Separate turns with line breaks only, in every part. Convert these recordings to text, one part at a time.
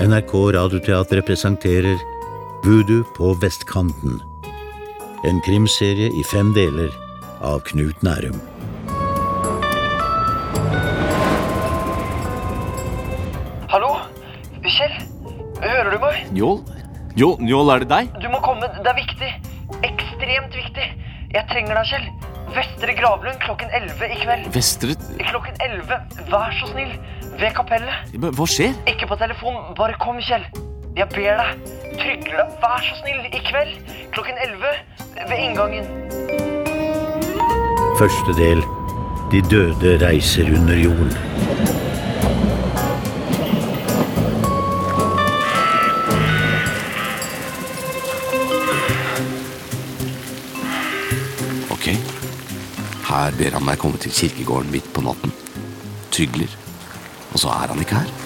NRK Radioteatret presenterer Voodoo på vestkanten. En krimserie i fem deler av Knut Nærum.
Hallo? Kjell? Hører du meg?
Njål? Njål, Njål, er det deg?
Du må komme. Det er viktig. Ekstremt viktig. Jeg trenger deg, Kjell. Vestre Gravlund klokken 11 i kveld.
Vestre
Klokken 11. Vær så snill. Ved kapellet.
Men Hva skjer?
Ikke på telefon. Bare kom, Kjell. Jeg ber deg. Trygler deg. Vær så snill. I kveld. Klokken 11. Ved inngangen.
Første del De døde reiser under jorden.
Ok. Her ber han meg komme til kirkegården midt på natten. Trygler. Og så er han ikke her.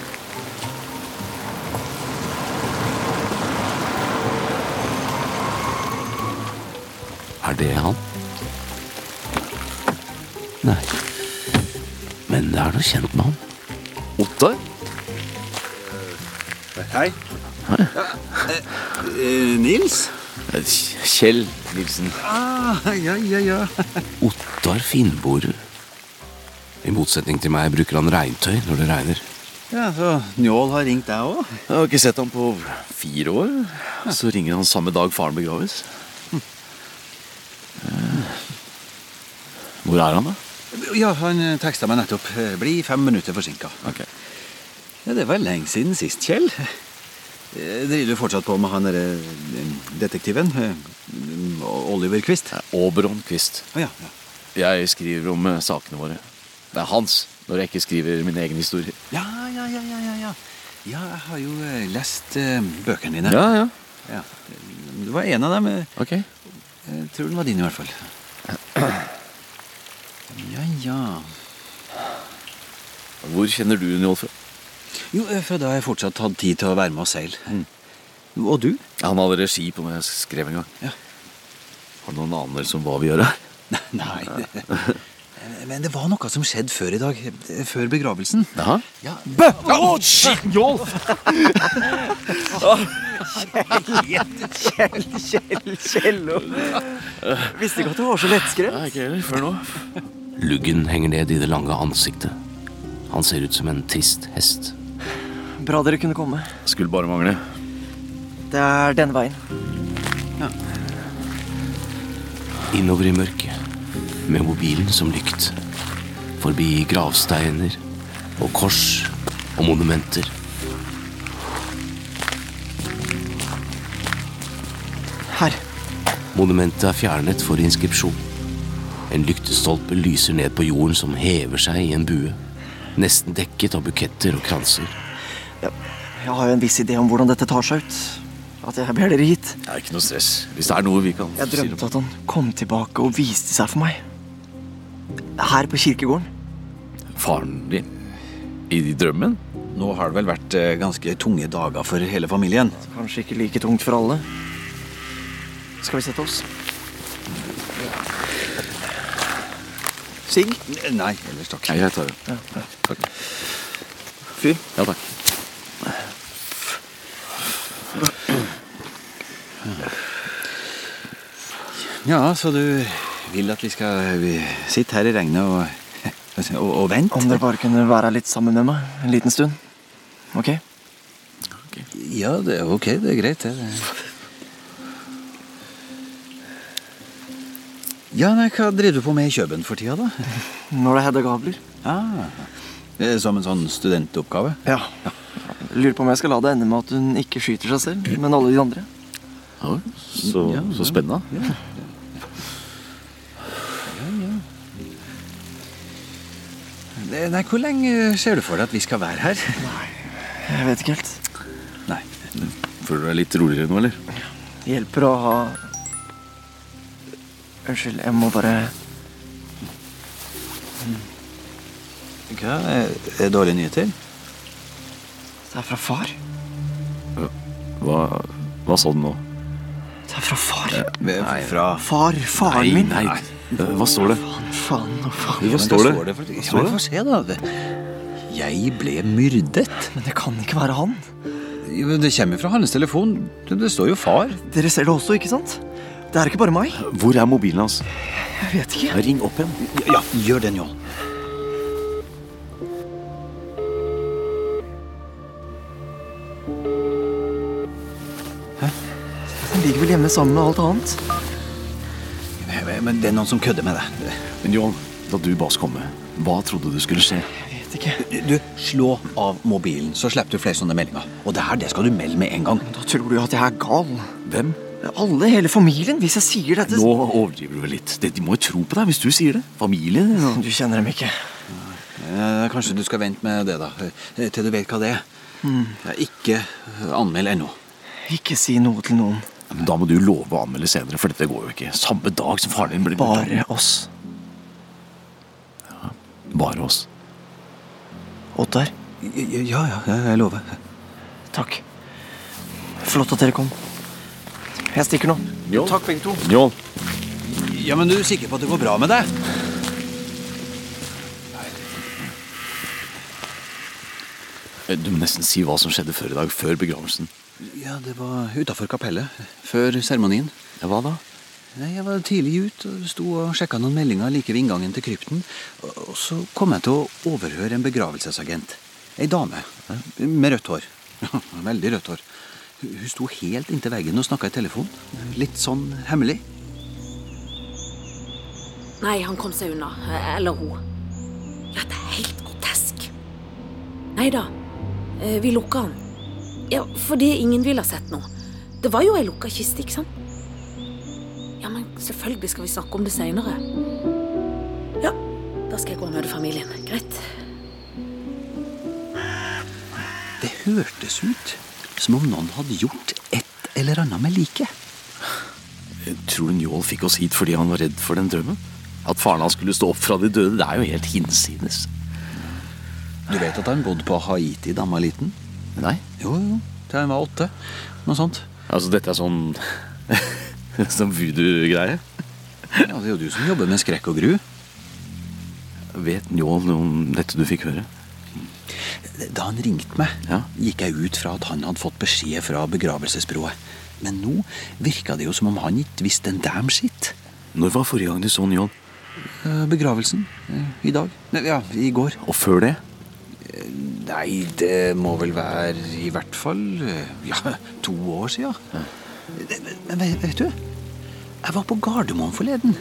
Er det han? Nei. Men det er noe kjent med han. Ottar?
Hei. Eh, Nils? Ah,
Kjell Nilsen.
ja, ja, ja.
Ottar finborer. I motsetning til meg bruker han regntøy når det regner.
ja så Njål har ringt deg òg?
Jeg har ikke sett ham på fire år. Så ringer han samme dag faren begraves. Hm. Eh. Hvor er han, da?
Ja, han teksta meg nettopp. Eh, Bli fem minutter forsinka. Ja, det var lenge siden sist, Kjell. Eh, Driver du fortsatt på med han derre eh, detektiven? eh, Oliver Quist? Å
Oberon Quist.
ja. ja.
Eh, Jeg skriver om eh, sakene våre. Det er hans når jeg ikke skriver min egen historie.
Ja, ja, ja, ja, ja, ja. Ja, jeg har jo eh, lest eh, bøkene dine.
Ja, ja.
Ja. Du var en av dem. eh,
Ok.
Jeg tror den var din i hvert fall. Ja, ja.
Hvor kjenner du Njål fra?
Jo, eh, fra da har jeg fortsatt hatt tid til å være med og seile. Og du?
Mm. Han hadde regi på noe jeg skrev en gang.
Ja.
Har du noen anelse om hva vi gjør her?
Nei. det- Men det var noe som skjedde før i dag. eh, Før begravelsen.
Ja.
Ja,
Bø! Å, shit, Njål!
Kjell, Kjell, Kjell. Visste ikke at du var så lettskremt.
Nei, ikke heller. Før nå. Luggen henger ned i det lange ansiktet. Han ser ut som en trist hest.
Bra dere kunne komme.
Skulle bare mangle.
Det er denne veien.
Innover i mørket, med mobilen som lykt. Forbi gravsteiner og kors og monumenter.
Her.
Monumentet er fjernet for inskripsjon. En lyktestolpe lyser ned på jorden som hever seg i en bue. Nesten dekket av buketter og kranser.
Ja, Jeg har jo en viss idé om hvordan dette tar seg ut. At jeg ber dere hit.
Det er ikke noe stress. Hvis det er noe vi kan
Jeg drømte at han kom tilbake og viste seg for meg. Her på kirkegården.
Faren din? I drømmen?
Nå har det vel vært eh, ganske tunge dager for hele familien.
Kanskje ikke like tungt for alle. Skal vi sette oss? Sigg?
Nei, ellers takk.
Nei, jeg tar det. Takk.
Fyr?
Ja, takk.
Ja, så du vil at vi skal eh, sitte her i regnet og, og, og
Om dere
vente?
bare kunne være her litt sammen med meg en liten stund. Ok?
Ja, det er ok. Det er greit, det. det. Ja, nei, Hva driver du på med i Kjøben for tida, da?
Når det er Hedda Gabler.
Ah, eh, som en sånn studentoppgave?
Ja. Lurer på om jeg skal la det ende med at hun ikke skyter seg selv, men alle de andre.
Ja, så,
Ja, ja.
så spennende.
Eh, Nei, Hvor lenge ser du for deg at vi skal være her?
Jeg vet ikke helt.
Nei.
Føler du deg litt roligere nå, eller?
Det hjelper å ha Unnskyld, jeg må bare
Hva er er dårlige nyheter?
Det er fra far.
Hva, hva sa du nå? Eh,
Det er fra far.
Nei, fra
Far, faren min.
nei. Eh, Hva står det?
Faen og faen.
Hva
Men
står det?
for- Ja, men Få se, da. Jeg ble myrdet.
Men det kan ikke være han.
Jo, men Det kommer fra hans telefon. Det det står jo far.
Dere ser det også, ikke sant? Det er ikke bare meg.
Hvor er mobilen hans?
Jeg vet ikke.
Ring opp igjen.
Ja, gjør den, John.
Den ligger vel hjemme sammen med alt annet.
Men det er noen som kødder med deg.
Men John, da du ba oss komme, hva trodde du skulle skje?
Jeg vet ikke.
Du, slå av mobilen, så slipper du flere sånne meldinger. Og det her, det skal du melde med en gang.
Da tror du at jeg er gal.
Hvem?
Alle, hele familien, hvis jeg sier dette
Nå overdriver du vel litt. De de må jo tro på deg hvis du sier det. Familien din og
Du kjenner dem ikke.
Eh, Kanskje du skal vente med det, da. eh, Til du vet hva det er. Ja, Ikke anmeld ennå.
Ikke si noe til noen.
Da må du love å anmelde senere, for dette går jo ikke. Samme dag som faren din blir
Bare oss.
Bare oss.
Oddar,
Ja, ja, ja, jeg lover.
takk. Flott at dere kom. Jeg stikker nå.
Jo.
Takk, begge to.
John,
Ja, Men du er sikker på at det går bra med deg?
Eh, du må nesten si hva som skjedde før i dag, før begravelsen.
Ja, det var utafor kapellet. Før seremonien.
Ja, Hva da?
Nei, Jeg var tidlig ute og sto og sjekka noen meldinger like ved inngangen til krypten. Og og så kom jeg til å overhøre en begravelsesagent. Ei dame eh, med rødt hår. Veldig rødt hår. Hun hun sto helt inntil veggen og snakka i telefon. Litt sånn hemmelig.
Nei, han kom seg unna. Eller hun. Ja, det er helt grotesk. Nei da, eh, vi lukka han. Ja, fordi ingen ville ha sett noe. Det var jo ei lukka kiste, ikke sant? Ja, men selvfølgelig skal vi snakke om det seinere. Ja, da skal jeg gå og møte familien. Greit.
Det hørtes ut som om noen hadde gjort et eller annet med liket.
eh, Tror du Njål fikk oss hit fordi han var redd for den drømmen? At faren hans skulle stå opp fra de døde, det er jo helt hinsides.
Du vet at han bodde på Haiti da han var liten?
Nei,
Jo, jo. Til han var åtte. Noe sånt.
altså dette er sånn Sånn voodoo-greie.
Ja, Det er jo du som jobber med skrekk og gru.
Vet Njål noe om dette du fikk høre?
Da han ringte meg,
Ja.
gikk jeg ut fra at han hadde fått beskjed fra begravelsesbyrået. Men nå virka det jo som om han ikke visste en damn shit.
Når var forrige gang du så Njål?
Eh, Begravelsen? eh, I dag? Nei, Ja, i går.
Og før det?
Nei, det må vel være i hvert fall eh, ja, to år siden. Men- Men vet- vet du, jeg var på Gardermoen forleden.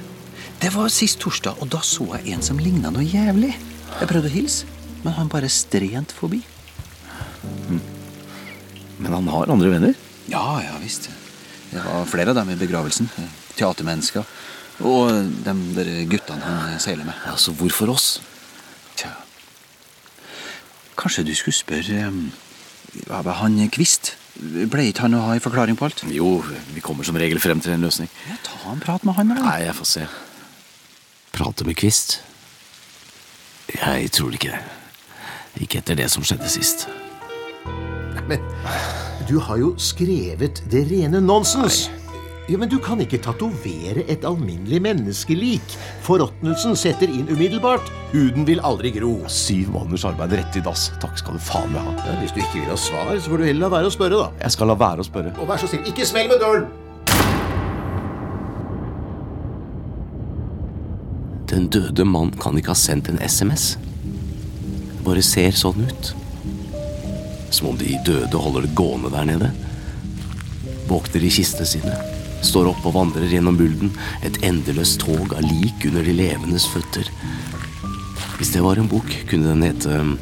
Det var sist torsdag, og da så jeg en som ligna noe jævlig. Jeg prøvde å hilse, men han bare strent forbi.
Hm. Men han har andre venner?
Ja, ja visst. Det var flere av dem i begravelsen. Teatermennesker. Og de der guttene han seiler med.
Ja, Så hvorfor oss?
Tja. Kanskje du skulle spørre eh, hva var han Kvist? Ble ikke han å ha en forklaring på alt?
Jo, vi kommer som regel frem til en løsning.
Ja, ta en prat med han, da.
Nei, jeg får se. Prate med Kvist? Jeg tror ikke det. Ikke etter det som skjedde sist.
Men du har jo skrevet det rene nonsens. Ja, men Du kan ikke tatovere et alminnelig menneskelik. Forråtnelsen setter inn umiddelbart. Huden vil aldri gro.
Syv måneders arbeid rett i dass. Takk skal du faen meg ha.
Ja, hvis du ikke vil ha svar, så får du heller la være å spørre, da.
Jeg skal la være å spørre.
Og vær så snill, ikke smell med døren!
Den døde mann kan ikke ha sendt en SMS. Det bare ser sånn ut. Som om de døde holder det gående der nede. Våkner i kistene sine. Står opp og vandrer gjennom mulden. Et endeløst tog av lik under de levendes føtter. Hvis det var en bok, kunne den hete um,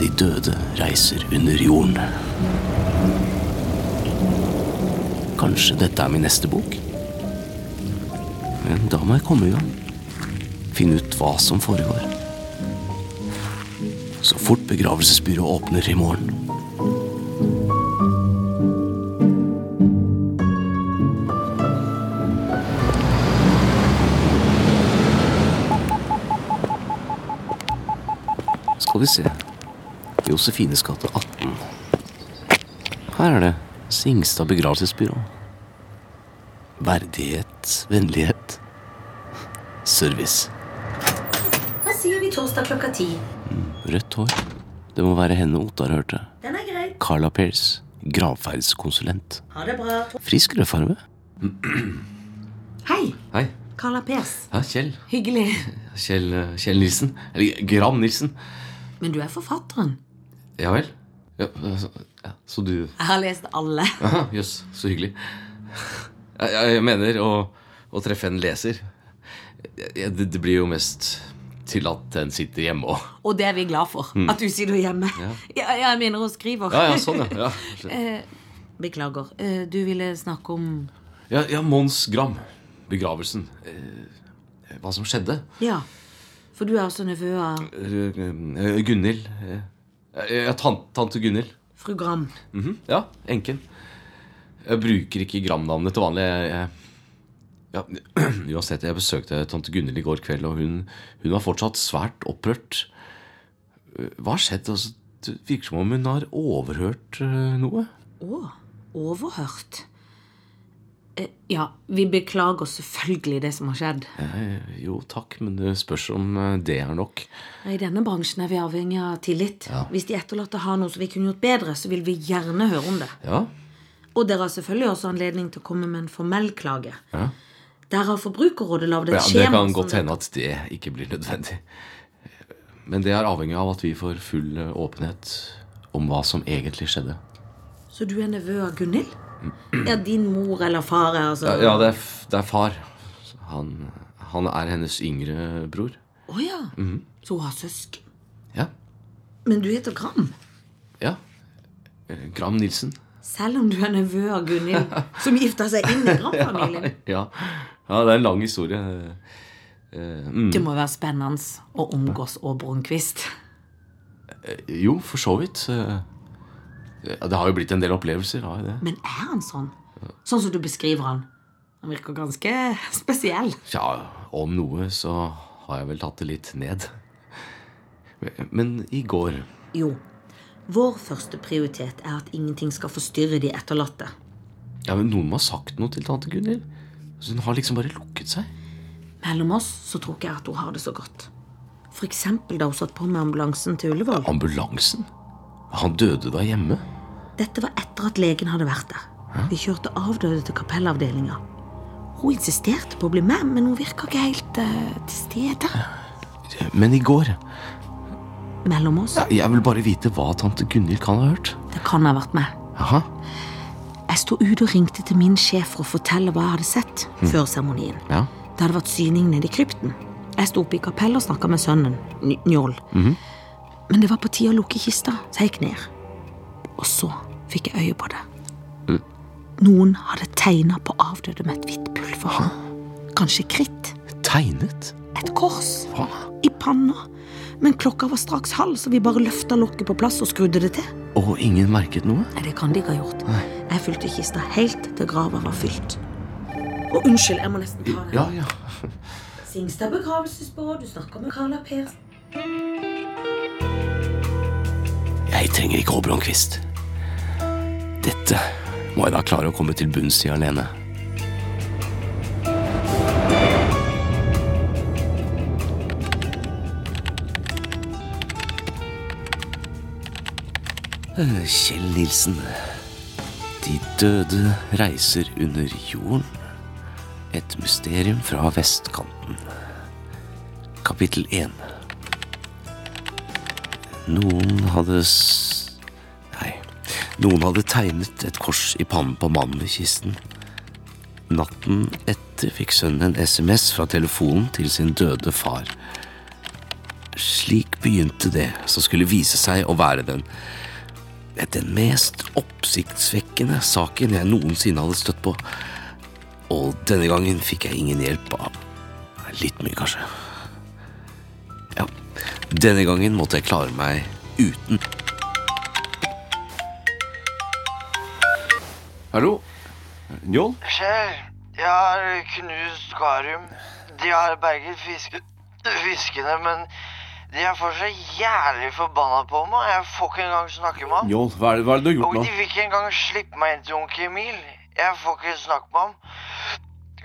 De døde reiser under jorden. Kanskje dette er min neste bok? Men da må jeg komme i gang. Finne ut hva som foregår. Så fort begravelsesbyrået åpner i morgen. Skal vi se. Josefines gate 18. Her er det. Singstad begravelsesbyrå. Verdighet, vennlighet, service.
Da sier vi torsdag klokka ti.
Rødt hår. Det må være henne Ottar hørte.
Den er grei.
Carla Pears, gravferdskonsulent.
Ha det bra.
Frisk rødfarve.
Hei,
Hei.
Carla Pes.
Ja, Kjell.
Hyggelig.
Kjell, eh, Kjell Nilsen. Eller Gram Nilsen.
Men du er forfatteren.
Ja vel? Ja, eh, så, ja, så du
Jeg har lest alle.
Aha, Jøss, så hyggelig. Jeg, jeg, jeg mener å, å treffe en leser. Jeg, det, det blir jo mest til at en sitter hjemme og
Og det er vi glad for. At du sitter hjemme. Ja. jeg mener og skriver.
Mm. Ja, ja, sånn, ja. Ja,
Eh, Beklager. Eh, Du ville snakke om
ja, ja Mons Gram. Begravelsen. Eh, Hva som skjedde.
Ja. For du er også nevø av
Eh, Gunhild. eh, Ja, tan- tante Gunhild.
fru Gram.
Mhm, Ja, enken. Jeg bruker ikke Gram-navnet til vanlig. Jeg, jeg, ja, uansett, jeg besøkte tante Gunhild i går kveld, og hun, hun var fortsatt svært opprørt. Eh, Hva har skjedd? Altså, det virker som om hun har overhørt eh, noe.
Å, overhørt. Eh, Ja, vi beklager selvfølgelig det som har skjedd.
Eh, Jo takk, men det spørs om eh, det er nok.
I denne bransjen er vi avhengig av tillit. Hvis de etterlatte har noe som vi kunne gjort bedre, så vil vi gjerne høre om det.
Ja,
Og dere har selvfølgelig også anledning til å komme med en formell klage. Der har Forbrukerrådet lagd et
ja Det
skjema.
kan
som
godt hende at det ikke blir nødvendig. Men det er avhengig av at vi får full eh, åpenhet om hva som egentlig skjedde.
Så du er nevø av Gunhild? Ja, din mor eller far er altså
Ja, det er, f- det er far. Han, han er hennes yngre bror. Mhm,
Å ja. Så hun har søsken.
Ja.
Men du heter Gram.
ja. Eh, Gram Nilsen.
Selv om du er nevø av Gunhild, som gifta seg inn i Gram-familien.
Ja. ja, det er en lang historie. Eh, mm.
Det må være spennende å omgås Å Brunquist.
Jo, for så vidt. Eh, ja, Det har jo blitt en del opplevelser. Har jo det.
Men er han sånn? Sånn som du beskriver han? Han virker ganske spesiell.
Ja, om noe så har jeg vel tatt det litt ned. Men i går
Jo, vår første prioritet er at ingenting skal forstyrre de etterlatte.
ja, men Noen må ha sagt noe til tante Gunhild. Så hun har liksom bare lukket seg.
Mellom oss så tror ikke jeg at hun har det så godt. For eksempel da hun satt på med ambulansen til Ullevål.
Ambulansen? Han døde da hjemme?
Dette var etter at legen hadde vært der. Vi kjørte avdøde til kapellavdelinga. Hun insisterte på å bli med, men hun virka ikke helt eh, til stede.
Men i går
Mellom oss.
Jeg vil bare vite hva tante Gunhild kan ha hørt.
Det kan ha vært meg.
Aha.
Jeg sto ute og ringte til min sjef for å fortelle hva jeg hadde sett før seremonien.
Ja.
Det hadde vært syning nede i krypten. Jeg sto oppe i kapellet og snakka med sønnen, N- Njål. Men det var på tide å lukke kista, så jeg gikk ned. Og så fikk jeg øye på det. Noen hadde tegna på avdøde med et hvitt pulver. Kanskje kritt.
Tegnet?
Et kors.
Hva?
I panna. Men klokka var straks halv, så vi bare løfta lokket på plass og skrudde det til.
Og ingen merket noe?
Nei, det kan de ikke ha gjort. Jeg fylte kista helt til grava var fylt. Og unnskyld, jeg må nesten ta den.
ja.
Singstad begravelsesbyrå, du snakker med Carla Per.
Jeg trenger ikke Håbromkvist. Dette må jeg da klare å komme til bunns i alene. Eh, Kjell Nilsen. De døde reiser under jorden. Et mysterium fra vestkanten. Kapittel 1. Noen hadde s... Nei. Noen hadde tegnet et kors i pannen på mannen ved kisten. Natten etter fikk sønnen en SMS fra telefonen til sin døde far. Slik begynte det som skulle vise seg å være den den mest oppsiktsvekkende saken jeg noensinne hadde støtt på. Og denne gangen fikk jeg ingen hjelp av Litt mye, kanskje. Ja, denne gangen måtte jeg klare meg uten.
Hallo? Njål?
Kjell, jeg har knust Garum. De har berget fiske, fiskene, men de er fortsatt jævlig forbanna på meg. Jeg får ikke engang snakke med ham.
Njål, hva er, det, hva er det du har
Og
gjort
de
nå?
vil ikke engang slippe meg inn til onkel Emil. Jeg får ikke snakke med ham.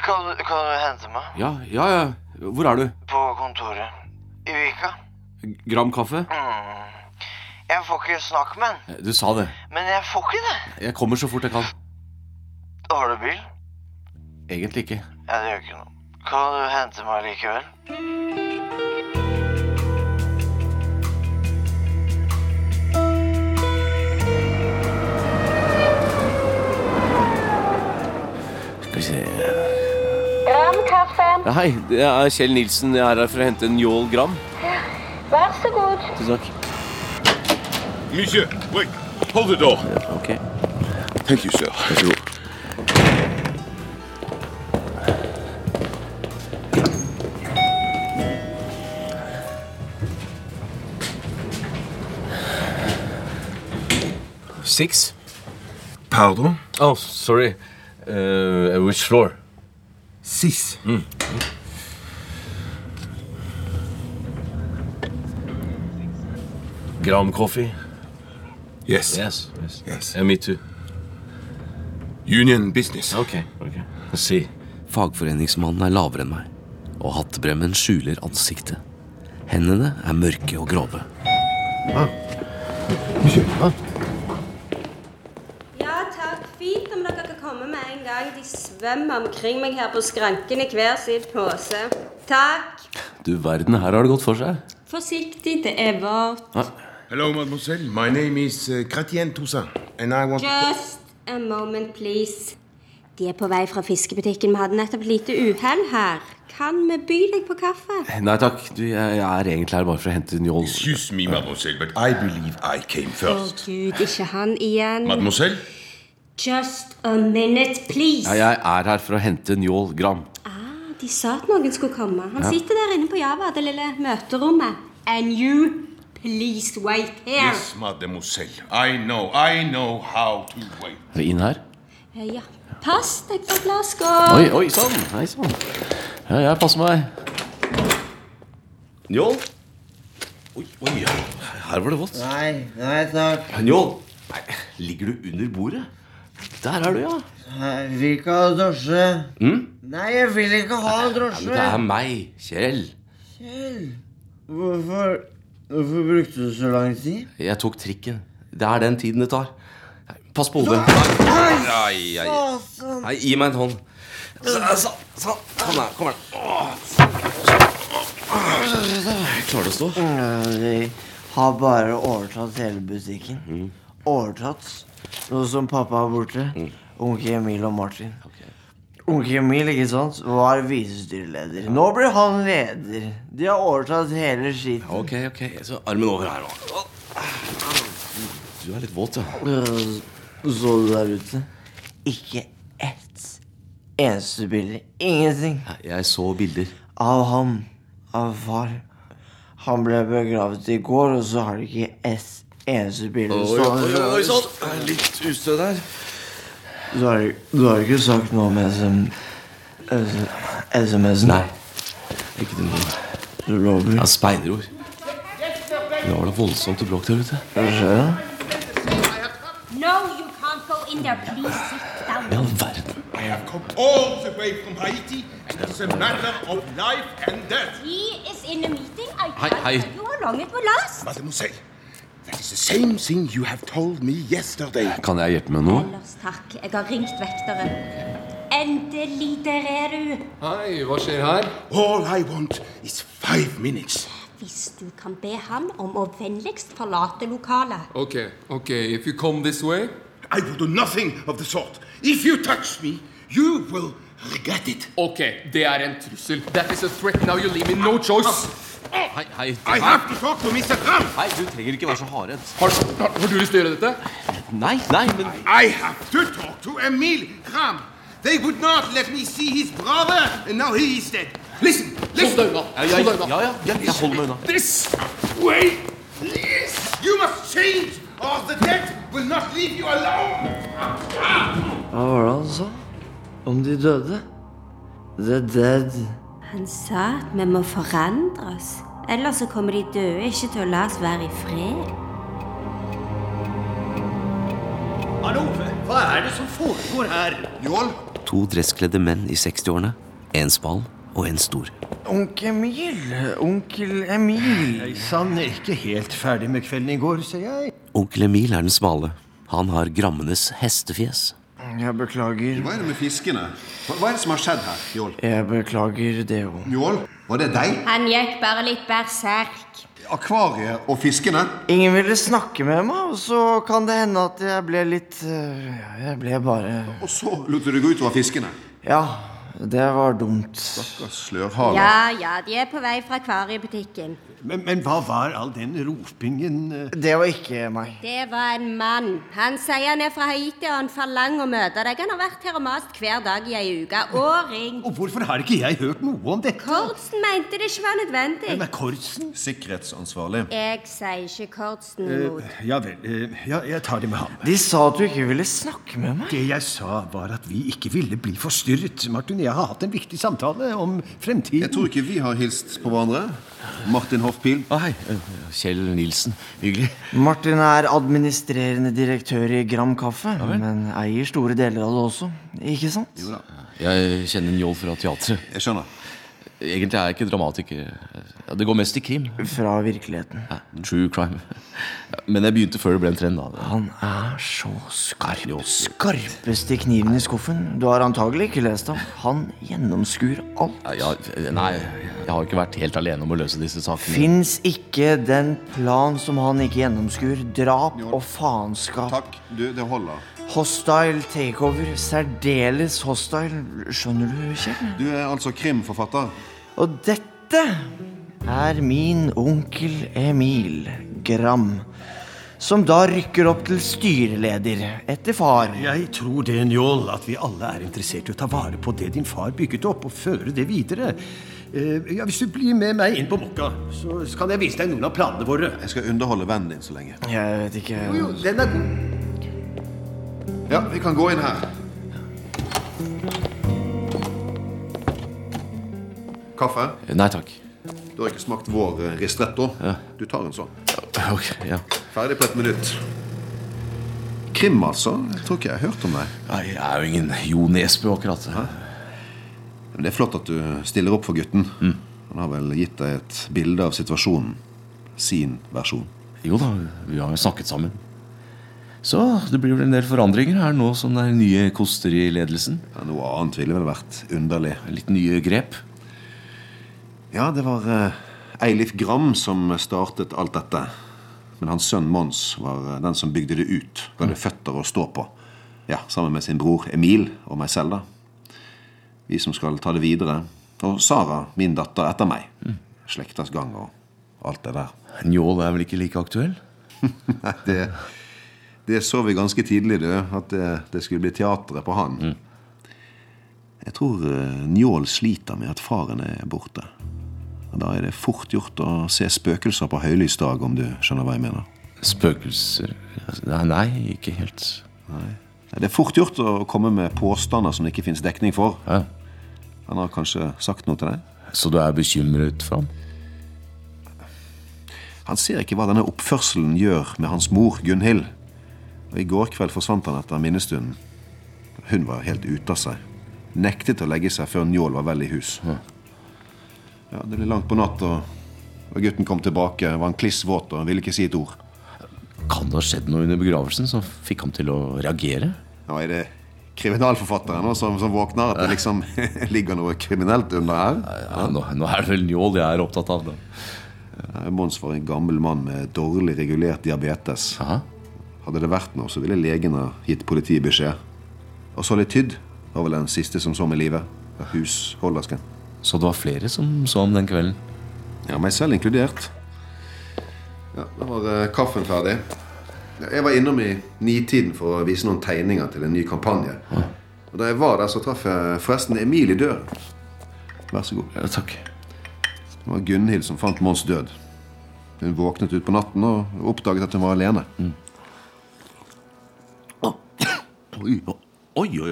Kan, du- kan du hente meg
Ja, ja, ja. Hvor er du?
på kontoret i Vika?
Gram kaffe?
Mm.
Jeg får ikke snakke med han.
Du sa det.
Men jeg får ikke det.
Jeg kommer så fort jeg kan.
Har du bil?
Egentlig ikke.
Ja, det gjør ikke noe. Kan du hente meg likevel?
Skal vi se
Gram kaffe.
ja, Hei, det er Kjell Nilsen. Jeg er her for å hente en Njål Gram.
Vær så god.
Tusen takk.
Monsieur, wait. Hold the door.
Ok.
Thank you, sir.
Vær så god. Six.
Pardon?
Oh, sorry. Uh, which floor? Hmm.
Six.
Gram coffee.
Yes.
Yes. yes.
Yes.
And me too.
Union business.
Okay. Okay. Let's see. Fagforeningsmannen er lavere enn meg, og hattbremmen skjuler ansiktet. Hendene er mørke og grove.
Ah.
Ja takk. Fint om dere kan komme med en gang. De svømmer omkring meg her på skranken i hver sin pose. Takk.
Du verden, her har det gått for seg.
Forsiktig, det er vårt.
Ah.
Hello, mademoiselle. My name is uh, Chrétien Toussaint, and I want
Just a moment, please. De er på vei fra fiskebutikken. Vi hadde nettopp et lite uhell her. Kan vi by deg på kaffe?
Nei takk, du, jeg, jeg er egentlig her bare for å hente Njål.
Excuse me, mademoiselle, but I believe I came
Å
first.
gud, ikke han igjen.
Mademoiselle?
Just a minute, please.
Ja, jeg er her for å hente Njål Gram.
Ah, de sa at noen skulle komme. Han sitter der inne på Java, det lille møterommet. And you, please wait here.
Yes, mademoiselle. I know, I know how to wait.
Er det inn her?
Eh, Ja. Pass deg for
Oi,
glasskål.
oi sann! Hei sånn. sann. Ja, jeg passer meg.
Njål? Oi, oi, ja.
Her var det vått.
Nei, nei takk.
Njål! Nei, ligger du under bordet?
Der er du, ja.
Jeg vil ikke ha drosje.
Hm?
Nei, jeg vil ikke ha
Men det
drosje.
er meg, Kjell.
Hvorfor, hvorfor brukte du så lang tid?
Jeg tok trikken. Det er den tiden det tar. Nei, Pass på hodet. Ai, ai, ai.
Fasen.
Nei, gi meg en hånd. Sånn. Så, så. Kom her. kom her. Åh. Klarer du å stå?
De Mm, har bare overtatt hele butikken.
Mm.
Overtatt. Nå som pappa er borte. Onkel Emil og Martin. Onkel Emil ikke sant, var visestyreleder. Nå blir han leder. De har overtatt hele skiten.
Ok, Eh, ok. Så armen over her nå. Du er litt våt, ja.
Øh, Så du der ute? Ikke ett eneste bilde. Ingenting.
Jeg så bilder.
Av ham. Av far. Han ble begravet i går, og så har de ikke ett eneste bilde. Så,
sann! Litt ustø der.
du, har, du har ikke sagt noe om SM, SMS-en?
Nei. Ikke til noen. Altså-
Du lover?
Ja, speiderord. Nå var det voldsomt bråk der ute.
Hva skjer da?
No, you can't go in there. Please sit down.
I all verden.
I have come all the way from Haiti, and it's a matter of life and death.
He is in a meeting. I
Hei,
can't
hei.
tell you how long it will last.
Mademoiselle, that is the same thing you have told me yesterday.
Kan jeg hjelpe med noe?
Ellers takk. Jeg har ringt vekteren. Endelig, der er du.
Hei, hva skjer her?
All I want is five minutes.
Hvis du kan be han om å vennligst forlate lokalet.
Ok, ok, if you come this way
I will do nothing of the sort. If you touch me, you will regret it.
Ok, det er en trussel. That is a threat, now you leave me no choice.
Ah,
Hei, hei.
I have to talk to Mr. Ram.
Hei, du trenger ikke være så hardhendt.
Har, har, har du lyst til å gjøre dette?
Nei, nei, men
I have to talk to Emil Ram. They would not let me see his brother, and now he is dead. Listen,
Hold deg
listen.
unna.
Ja,
Hold deg unna.
ja, ja, ja, jeg holder meg unna.
This way, please. You must change, or the dead will not leave you alone. Ah,
Hva var det han sa? Om de døde? The dead.
Han sa at vi må forandre oss. Ellers så kommer de døde ikke til å la oss være i fred.
To dresskledde menn i 60-årene, en spal og en stor.
Onkel Emil, onkel Emil.
Jeg sann er ikke helt ferdig med kvelden i går, ser jeg.
Onkel Emil er den smale. Han har Grammenes hestefjes.
Jeg beklager.
Hva er det med fiskene? Hva, hva er det som har skjedd her, Njål?
Jeg beklager det òg.
Njål, var det deg?
Han gikk bare litt berserk.
Akvariet og fiskene?
Ingen ville snakke med meg, og så kan det hende at jeg ble litt eh, Jeg ble bare
Og så lot du det gå utover fiskene?
Ja, det var dumt.
Stakkars slørhale.
Ja, ja, de er på vei fra akvariebutikken.
Men, men hva var all den ropingen eh?
Det var ikke meg.
Det var en mann. Han sier han er fra Haiti, og han forlanger å møte deg. Han har vært her og mast hver dag i ei uke. Og ring.
Og hvorfor har ikke jeg hørt noe om dette?
Kordsen mente det ikke var nødvendig.
Hvem er Kortsen?
Sikkerhetsansvarlig.
Jeg sier ikke Kordsen imot.
ja vel. eh, ja, jeg tar det med ham.
De sa at du ikke ville snakke med meg.
Det jeg sa, var at vi ikke ville bli forstyrret. Martin, jeg har hatt en viktig samtale om fremtiden.
Jeg tror ikke vi har hilst på hverandre. Martin Hoffpil.
hei. Eh, Kjell Nilsen. Hyggelig.
Martin er administrerende direktør i Gram Kaffe, men eier store deler av det også. Ikke sant? Jo
da.
Jeg kjenner Njål fra teatret.
Jeg skjønner.
Egentlig er jeg ikke dramatiker. Ja, Det går mest i krim.
Fra virkeligheten.
True crime. Men jeg begynte før det ble en trend. da.
Han er så skarp. Skarpeste kniven i skuffen. Du har antagelig ikke lest ham. Han gjennomskuer alt.
Ja, nei, jeg har ikke vært helt alene om å løse disse sakene.
Fins ikke den plan som han ikke gjennomskuer. Drap og faenskap.
Takk, du, det holder.
Hostile takeover. Særdeles hostile. Skjønner du, Kjell?
Du er altså krimforfatter.
Og dette er min onkel Emil Gram. Som da rykker opp til styreleder etter far.
Jeg tror det, Njål, at vi alle er interessert i å ta vare på det din far bygget opp, og føre det videre. Eh, ja, hvis du blir med meg inn på Mokka, så skal jeg vise deg noen av planene våre.
Jeg skal underholde vennen din så lenge.
Jeg vet ikke
Jo, jo, den er god.
Ja, vi kan gå inn her. Kaffe?
Nei takk.
Du har ikke smakt vår eh, ristretto. Du tar en sånn.
Ok, ja.
Ferdig på et minutt. Krim, altså? Jeg tror ikke jeg har hørt om deg.
Nei, Jeg er jo ingen Jo Nesbø, akkurat.
Men det er flott at du stiller opp for gutten.
Mm.
Han har vel gitt deg et bilde av situasjonen. Sin versjon.
Jo da, vi har jo snakket sammen. Så det blir vel en del forandringer her nå som det er nye koster i ledelsen.
Ja, noe annet ville vel vært underlig.
Litt nye grep.
Ja, det var eh, Eilif Gram som startet alt dette. Men hans sønn Mons var eh, den som bygde det ut. Ga det føtter å stå på. Ja, Sammen med sin bror Emil og meg selv, da. Vi som skal ta det videre. Og Sara, min datter, etter meg. Slektas gang og alt det der.
Njål er vel ikke like aktuell?
Nei, det, det så vi ganske tidlig, du. At det, det skulle bli teatret på han.
Mm.
Jeg tror eh, Njål sliter med at faren er borte. Og Da er det fort gjort å se spøkelser på høylys dag, om du skjønner hva jeg mener.
Spøkelser Nei, nei ikke helt.
Nei. Det er fort gjort å komme med påstander som det ikke fins dekning for. Han har kanskje sagt noe til deg?
Så du er bekymret for ham?
Han ser ikke hva denne oppførselen gjør med hans mor, Gunhild. Og I går kveld forsvant han etter minnestunden. Hun var helt ute av seg. Nektet å legge seg før Njål var vel i hus. Ja, Det ble langt på natt, og da gutten kom tilbake, var han kliss våt og ville ikke si et ord.
Kan det ha skjedd noe under begravelsen som fikk ham til å reagere?
Nå er det kriminalforfatteren nå som, som våkner, at det liksom ligger noe kriminelt under her.
Ja, nå, nå er det vel Njål jeg er opptatt av. Da.
Ja, Mons var en gammel mann med dårlig regulert diabetes. Hadde det vært noe, så ville legen ha gitt politiet beskjed. Og så litt tydd var vel den siste som så med livet. Ja, Husholdersken.
Så det var flere som så ham den kvelden?
Ja, meg selv inkludert. Ja, Da var eh, kaffen ferdig. Ja, Jeg var innom i nitiden for å vise noen tegninger til en ny kampanje. Og Da jeg var der, så traff jeg forresten Emil i døren. Vær så god.
Ja, takk.
Det var Gunhild som fant Mons død. Hun våknet ut på natten og oppdaget at hun var alene.
Mm. Oi, oi, oi.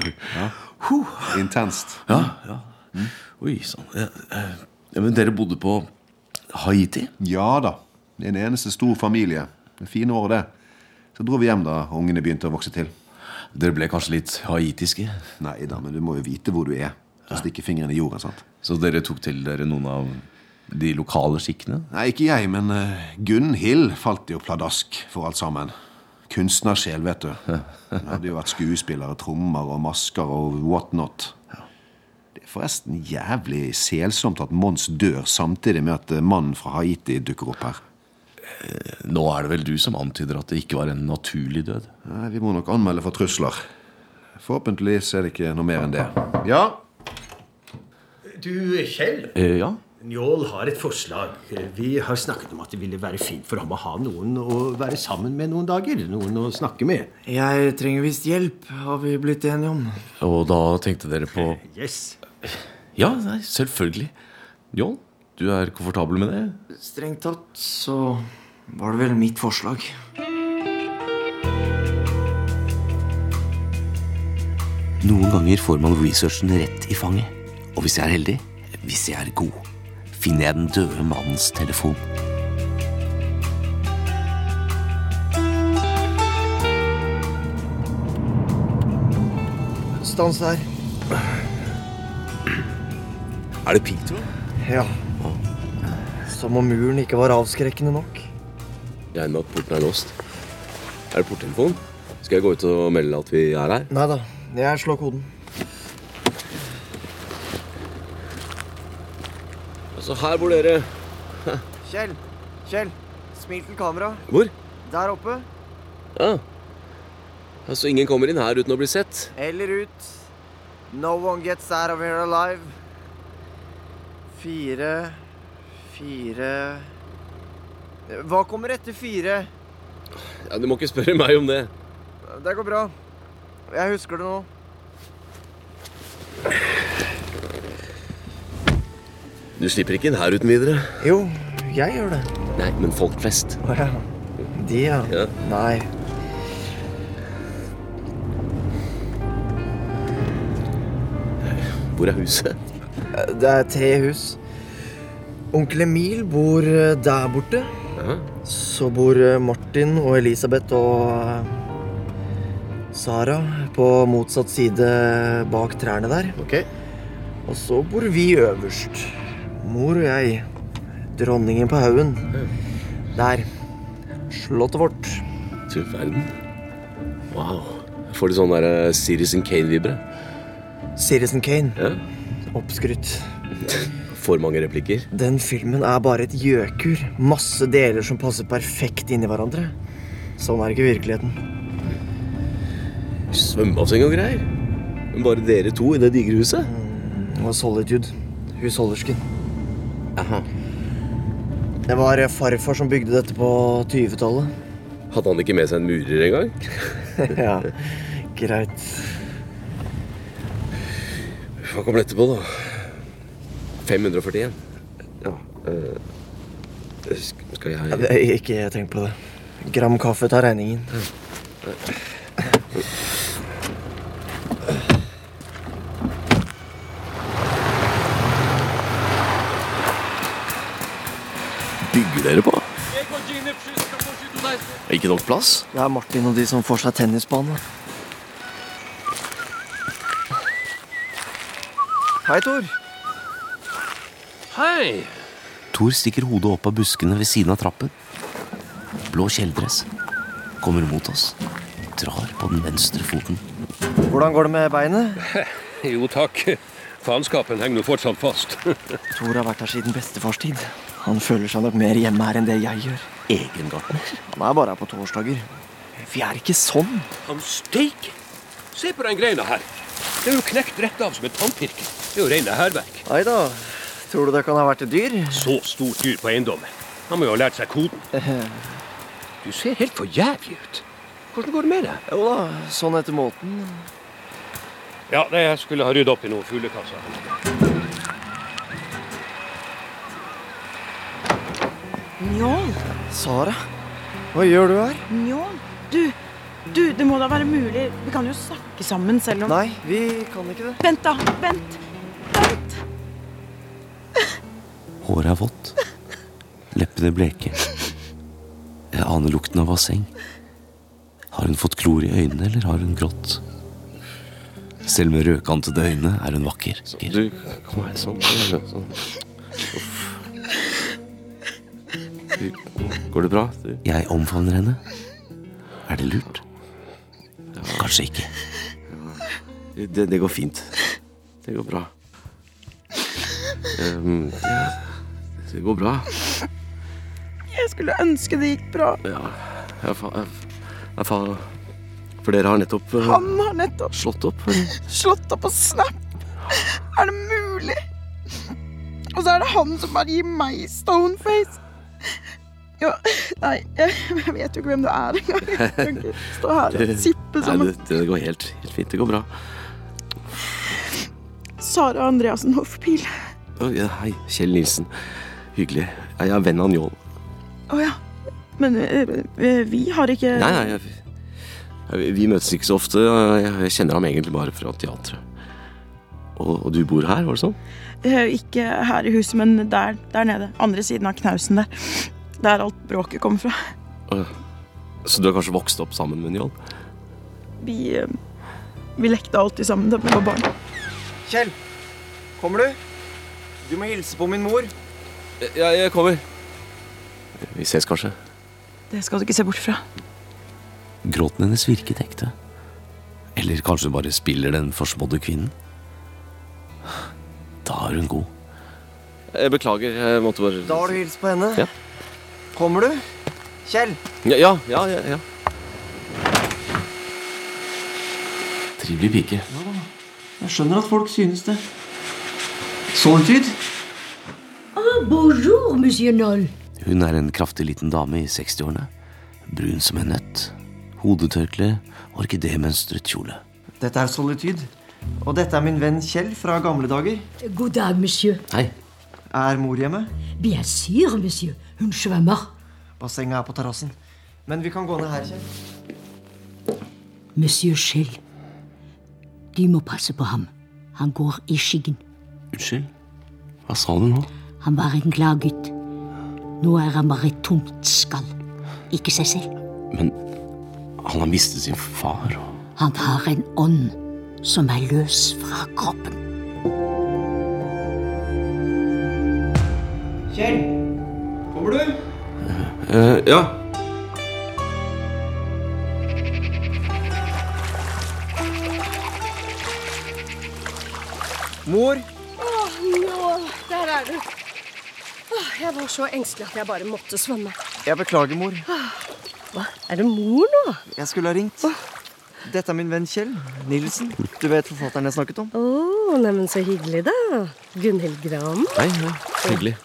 oi.
Intenst. Mm.
Ja, ja. Mm. Oi sann. Ja, eh, ja, men dere bodde på Haiti?
Ja da. Det er en eneste stor familie. Det er fine år, det. Så dro vi hjem da ungene begynte å vokse til.
Dere ble kanskje litt haitiske?
Nei da, men du må jo vite hvor du er. Så stikker fingeren i jorden, sant?
Så dere tok til dere noen av de lokale skikkene?
Nei, ikke jeg, men eh, Gunhild falt jo pladask for alt sammen. Kunstnersjel, vet du. Hun hadde jo vært skuespiller og trommer og masker og whatnot. Det er forresten jævlig selsomt at Mons dør samtidig med at eh, mannen fra Haiti dukker opp her.
Eh, Nå er det vel du som antyder at det ikke var en naturlig død?
Nei, Vi må nok anmelde for trusler. Forhåpentligvis er det ikke noe mer enn det. Ja?
Du, Kjell.
Eh, ja?
Njål har et forslag. Vi har snakket om at det ville være fint for ham å ha noen å være sammen med noen dager. Noen å snakke med.
Jeg trenger visst hjelp, har vi blitt enige om.
Og da tenkte dere på
Yes.
Ja, nei, selvfølgelig. John, du er komfortabel med det?
Strengt tatt så var det vel mitt forslag.
Noen ganger får man researchen rett i fanget. Og hvis jeg er heldig, hvis jeg er god, finner jeg den døde mannens telefon.
Stans der.
Er det piggtråd?
Ja. Som om muren ikke var avskrekkende nok.
Jeg regner med at porten er låst. Er det porttelefon? Skal jeg gå ut og melde at vi er her?
Nei da, jeg slår koden.
Altså, her bor dere.
Kjell, Kjell, smil til kamera.
Hvor?
Der oppe.
Ja. Altså, ingen kommer inn her uten å bli sett.
Eller ut. No one gets out of here alive. Fire, fire Hva kommer etter fire?
Ja, du må ikke spørre meg om det.
Det går bra. Jeg husker det nå.
Du slipper ikke inn her uten videre.
Jo, jeg gjør det.
Nei, men folk flest.
Å ja. De, ja.
Ja.
Nei.
Hvor er huset?
Det er tre hus. Onkel Emil bor eh, der borte. Så bor eh, Martin og Elisabeth og eh, Sara på motsatt side bak trærne der. Og så bor vi øverst. Mor og jeg. Dronningen på haugen. Der. Slottet vårt.
Du verden. Wow. Jeg får litt sånn der eh, Sirius and Kane-vibre.
Sirius and Kane.
Ja.
Oppskrytt.
For mange replikker.
Den filmen er bare et gjøkur. Masse deler som passer perfekt inn i hverandre. Sånn er ikke virkeligheten.
Svømmebasseng og greier. Men bare dere to i det digre huset?
Mm. Og Solitude. Husholdersken. Det var eh, farfar som bygde dette på 20-tallet.
Hadde han ikke med seg en murer engang?
ja, greit.
Hva kom etterpå, da? 541. Ja eh, sk- Eh, Skal jeg
Ja, det- Ikke tenk på det. Gram kaffe tar regningen.
Bygger dere på? Ikke nok plass?
Det er Martin og de som får seg tennisbane. Hei, Tor.
Hei!
Thor stikker hodet opp av buskene ved siden av trappen. Blå kjeledress. Kommer mot oss. Drar på den venstre foten.
Hvordan går det med beinet?
Jo takk. Faenskapen henger nå fortsatt fast.
Tor har vært her siden bestefars tid. Han føler seg nok mer hjemme her enn det jeg gjør. Egengartner? Han er bare her på torsdager. Vi er ikke sånn.
Han steik! Se på den greina her. Det er jo knekt rett av som en tannpirker. Det er jo rene hærverk.
Nei da. Tror du det kan ha vært et dyr?
Så stort dyr på eiendommen. Han må jo ha lært seg koden.
Eh.
Du ser helt for jævlig ut. Hvordan går det med deg?
Jo da, sånn etter måten.
Ja, nei, jeg skulle ha rydda opp i noen fuglekasser.
Njål,
Sara, hva gjør du her?
Njål, du, du, det må da være mulig. Vi kan jo snakke sammen selv om
Nei, vi kan ikke det.
Vent, da. Vent.
Håret er vått. Leppene bleke. Jeg aner lukten av basseng. Har hun fått klor i øynene, eller har hun grått? Selv med rødkantede øyne er hun vakker.
Du, kom her sånn. sånn.
Går det bra? Jeg omfavner henne. Er det lurt? Kanskje ikke.
Det, det går fint. Det går bra. Ehm, ja. Det går bra.
Jeg skulle ønske det gikk bra.
Ja, jeg fa... Jeg, jeg fa for dere har nettopp eh,
Han har nettopp
slått opp.
slått opp på Snap. Er det mulig? Og så er det han som bare gir meg stoneface. Ja, nei, jeg, jeg vet jo ikke hvem du er engang. Jeg kan ikke stå her og sippe
Nei,
sammen.
det, det går helt, helt fint. Det går bra.
Sara Andreassen Hoffpil.
Å, ja, Hei, Kjell Nilsen. Hyggelig. Jeg er venn av Njål.
Å ja. Men ø, ø, vi har ikke
Nei, nei, jeg, jeg, vi møtes ikke så ofte. Jeg, jeg kjenner ham egentlig bare fra teatret. Og, og du bor her, var det sånn?
Eh, Ikke her i huset, men der, der nede. Andre siden av knausen der. Der alt bråket kommer fra.
Å, ja. Så du har kanskje vokst opp sammen med Njål?
Vi, eh, vi lekte alltid sammen da vi var barn.
Kjell, kommer du? Du må hilse på min mor.
Jeg, jeg kommer. Vi ses kanskje.
Det skal du ikke se bort fra.
Gråten hennes virket ekte. Eller kanskje hun bare spiller den forsmådde kvinnen? Da er hun god.
Jeg beklager. Jeg måtte bare
Da har du hilst på henne.
Ja.
Kommer du? Kjell.
Ja, ja, ja. ja, ja. Trivelig pike.
Jeg skjønner at folk synes det. Soltid?
Ah, bonjour, monsieur Noll.
Hun er en kraftig liten dame i 60-årene. Brun som en nøtt. Hodetørkle, orkidémønstret kjole.
Dette er Solitude. Og dette er min venn Kjell fra gamle dager.
God dag, Ah, monsieur.
Hei.
Er mor hjemme?
Bien sûr, monsieur. Hun svømmer.
Bassenget er på terrassen. Men vi kan gå ned her, Kjell.
Monsieur Schill. De må passe på ham. Han går i skyggen.
Unnskyld? Hva sa du nå?
Han var en glad gutt. Nå er han bare et tomt skall. Ikke seg selv.
Men han har mistet sin far. og-
Han har en ånd som er løs fra kroppen.
Kjell! Kommer du?
Eh, ja.
Mor?
Åh, nå, der er du. Åh, jeg var så engstelig at jeg bare måtte svømme.
Jeg beklager, mor.
Hva? Er det mor nå?
Jeg skulle ha ringt. Dette er min venn Kjell Nilsen. Du vet forfatteren jeg snakket om?
Å, neimen så hyggelig, da. Gunhild Gram.
Hei, ja. Hyggelig.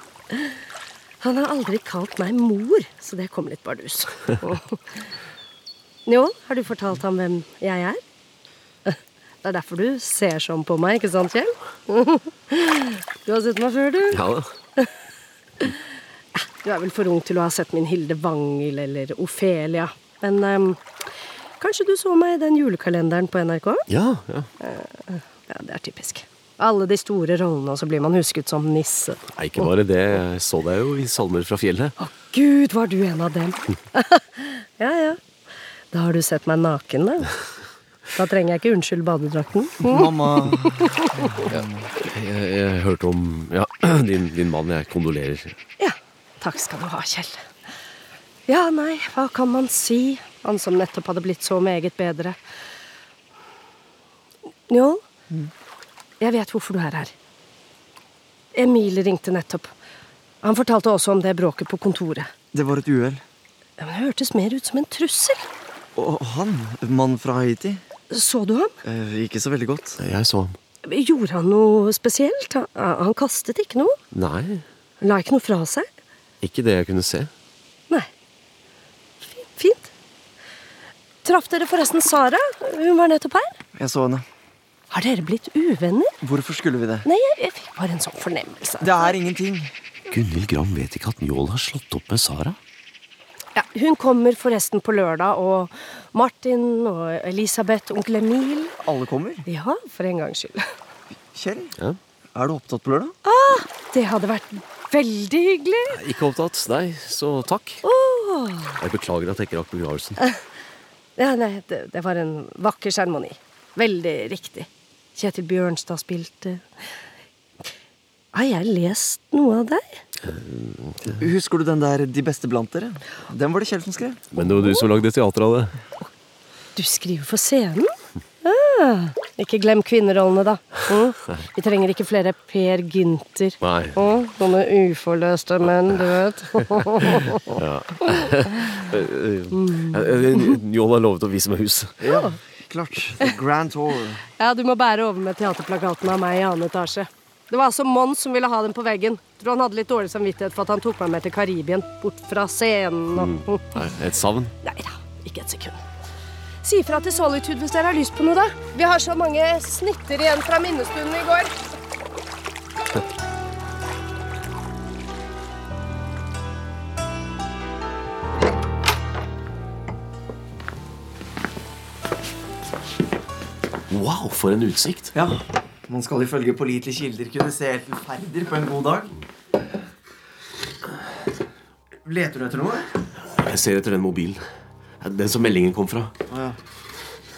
Han har aldri kalt meg mor, så det kom litt bardus. Njål, har du fortalt ham hvem jeg er? Det er derfor du ser sånn på meg, ikke sant, Kjell? Du har sett meg før, du.
Ja da.
Du er vel for ung til å ha sett min Hilde Wangel eller Ofelia. Men ehm, kanskje du så meg i den julekalenderen på NRK?
Ja, ja.
Eh, ja, det er typisk. Alle de store rollene, og så blir man husket som nisse.
Nei, ikke bare det. Jeg så deg jo i Salmer fra fjellet.
Gud, var du en av dem? ja, ja. Da har du sett meg naken, da. Da trenger jeg ikke unnskylde badedrakten.
Mamma.
Ja. Jeg, jeg hørte om ja, din, din mann. Jeg kondolerer.
Takk skal du ha, Kjell. Ja, nei, hva kan man si? Han som nettopp hadde blitt så meget bedre. Njål, jeg vet hvorfor du er her. Emil ringte nettopp. Han fortalte også om det bråket på kontoret.
Det var et uhell.
Ja, men Det hørtes mer ut som en trussel.
Og han, mannen fra Haiti,
Så du ham?
eh, ikke så veldig godt.
Jeg så ham.
Gjorde han noe spesielt? Han, han kastet ikke noe?
Nei,
Han La ikke noe fra seg?
ikke det jeg kunne se.
Fint. Traff dere forresten Sara? Hun var nettopp her.
Jeg så henne.
Har dere blitt uvenner?
Hvorfor skulle vi det?
Nei, jeg, jeg fikk bare en sånn fornemmelse.
Det er ingenting.
Gunhild Gram vet ikke at Njål har slått opp med Sara.
Ja, hun kommer forresten på lørdag, og Martin og Elisabeth, onkel Emil
Alle kommer.
Ja, for en gangs skyld.
Kjell, er du opptatt på lørdag?
Ah, det hadde vært veldig hyggelig.
Ikke opptatt. Nei, så takk.
Åh.
Jeg beklager at jeg ikke rakk begravelsen.
Ja, nei, det, det var en vakker seremoni. Veldig riktig. Kjetil Bjørnstad spilte. Har jeg lest noe av deg?
Husker du den der De beste blant dere? Den var det Kjell som skrev.
Men det var du som lagde teater av det.
Du skriver for scenen? Ah, ikke glem kvinnerollene, da. Mm. Vi trenger ikke flere Per Gynter.
Nei.
Mm, sånne uforløste menn, du vet.
Ja. Eh, Njål har lovet å vise meg huset.
Ja, klart. The Grand Tour.
ja, du må bære over med teaterplakaten av meg i annen etasje. Det var altså Mons som ville ha den på veggen. Tror han hadde litt dårlig samvittighet for at han tok meg med til Karibien. Bort fra scenen
Mm.
Mm.
og
Nei, Et savn.
Ikke et sekund. Si fra til Solitude hvis dere har lyst på noe, da. Vi har så mange snitter igjen fra minnestunden i går.
Wow, for en utsikt.
Ja. Man skal ifølge pålitelige kilder kunne se helt forferder på en god dag. Leter du etter noe?
Jeg ser etter den mobilen. Den som meldingen kom fra.
Å, ja.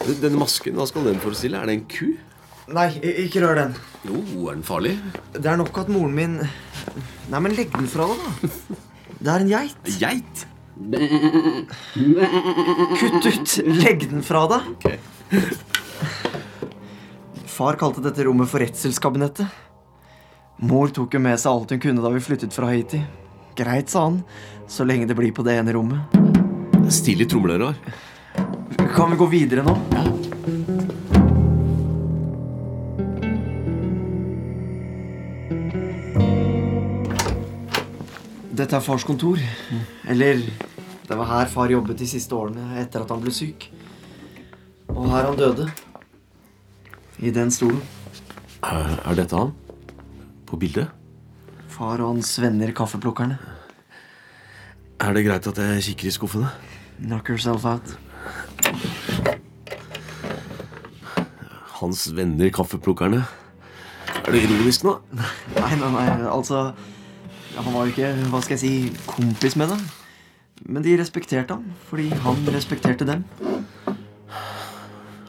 Den- Den masken, hva skal den forestille? Er det en ku?
Nei, i- ikke rør den.
Jo, er den farlig?
Det er nok at moren min Nei, men legg den fra deg, da. Det er en geit.
Geit?
Kutt ut! Legg den fra deg. Far kalte dette rommet for redselskabinettet. Mor tok jo med seg alt hun kunne da vi flyttet fra Haiti. Greit, sa han, så lenge det blir på det ene rommet.
Stilig trommelører.
Kan vi gå videre nå? Dette er fars kontor. Eller det var her far jobbet de siste årene etter at han ble syk. Og her han døde. I den stolen.
Er, er dette han? På bildet?
Far og hans venner kaffeplukkerne.
Er det greit at jeg kikker i skuffene?
Knock yourself out.
Hans venner, kaffeplukkerne. Er det ironisk nå?
Nei, nei, nei, altså ja, Han var jo ikke, hva skal jeg si, kompis med dem. Men de respekterte ham fordi han respekterte dem.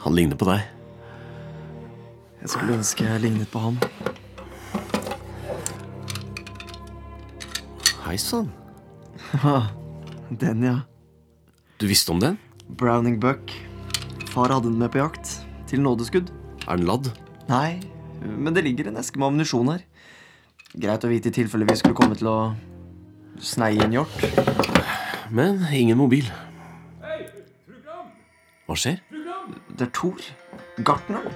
Han ligner på deg.
Jeg skulle ønske jeg lignet på ham.
Hei sann.
Den, ja.
Du visste om den?
Browning Buck. Far hadde den med på jakt. Til nådeskudd.
Er den ladd?
Nei, men det ligger en eske med ammunisjon her. Greit å vite i tilfelle vi skulle komme til å sneie en hjort.
Men ingen mobil. Hva skjer?
Det er Thor. Gartneren.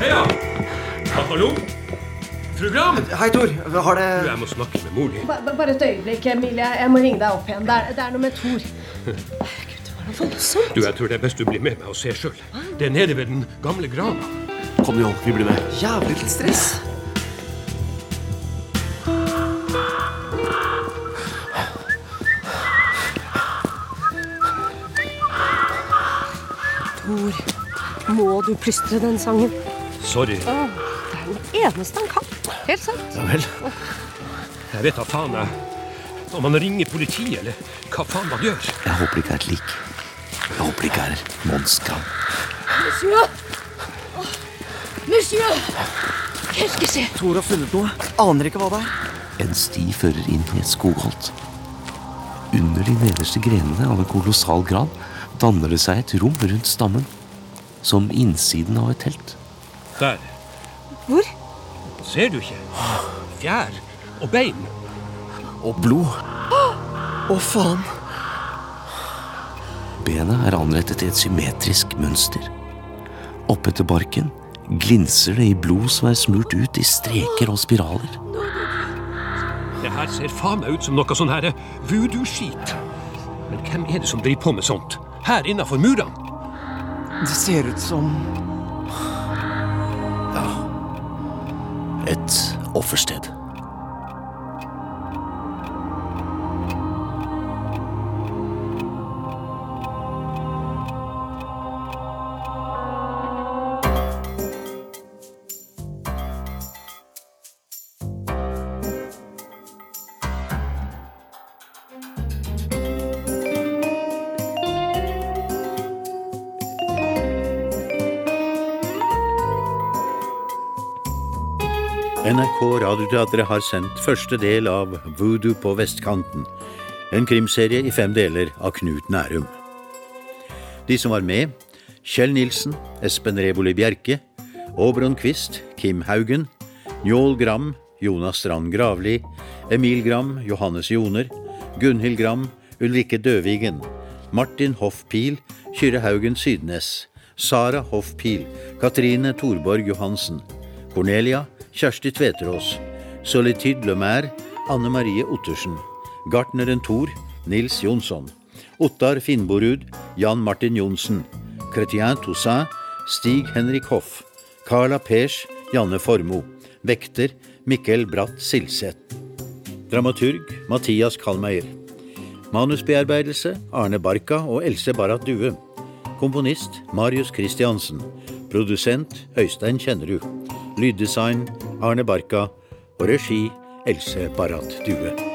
Heia! Hallo? Fru Gram?
Hei, Tor. Har det
Du, jeg må snakke med mor di.
Bare et øyeblikk, Emilie. Jeg må ringe deg opp igjen. Det er, det er noe med Tor.
Du, jeg tror det er best du blir med meg og ser sjøl. Det er nede ved den gamle grana.
Kom, Njål. Vi blir med.
Jævlig til stress.
Tor, må du plystre den sangen?
Sorry.
Åh, det er den eneste han kan. Helt sant.
Ja vel. Jeg vet da faen jeg om han ringer politiet, eller hva faen man gjør.
Jeg håper det ikke er et lik. Jeg håper det ikke er Monska.
Monsieur Monsieur Qu'est-ce que c'est
Thor har funnet noe. Aner ikke hva det er.
En sti fører inn i et skogholt. Under de nederste grenene av en kolossal gran danner det seg et rom rundt stammen, som innsiden av et telt.
Der.
Hvor?
Ser du ikke? Fjær og bein.
Og blod.
Å, faen.
Bena er anrettet i et symmetrisk mønster. Oppetter barken glinser det i blod som er smurt ut i streker og spiraler.
Det her ser faen meg ut som noe sånn her voodoo-skit. Men hvem er det som driver på med sånt? Her innafor murene?
Det ser ut som
Et offersted.
NRK Radioteatret har sendt første del av Voodoo på vestkanten, en krimserie i fem deler av Knut Nærum. De som var med, Kjell Nilsen, Espen Reboli Bjerke, Åbron Quist, Kim Haugen, Njål Gram, Jonas Strand Gravli, Emil Gram, Johannes Joner, Gunhild Gram, Ulrikke Døvigen, Martin Hoff Pil, Kyrre Haugen Sydnes, Sara Hoff Pil, Katrine Torborg Johansen, Cornelia, Kjersti Tveterås, Solitude Lemaire, Anne Marie Ottersen, gartneren Thor, Nils Jonsson, Ottar Finnborud, Jan Martin Johnsen, Chrétien Toussaint, Stig Henrik Hoff, Carla Pers, Janne Formoe, vekter Mikkel Bratt Silseth, dramaturg Mathias Kalmeier, manusbearbeidelse Arne Barka og Else Barrat Due, komponist Marius Christiansen, produsent Øystein Kjennerud. Lyddesign Arne Barka og regi Else Barrat Due.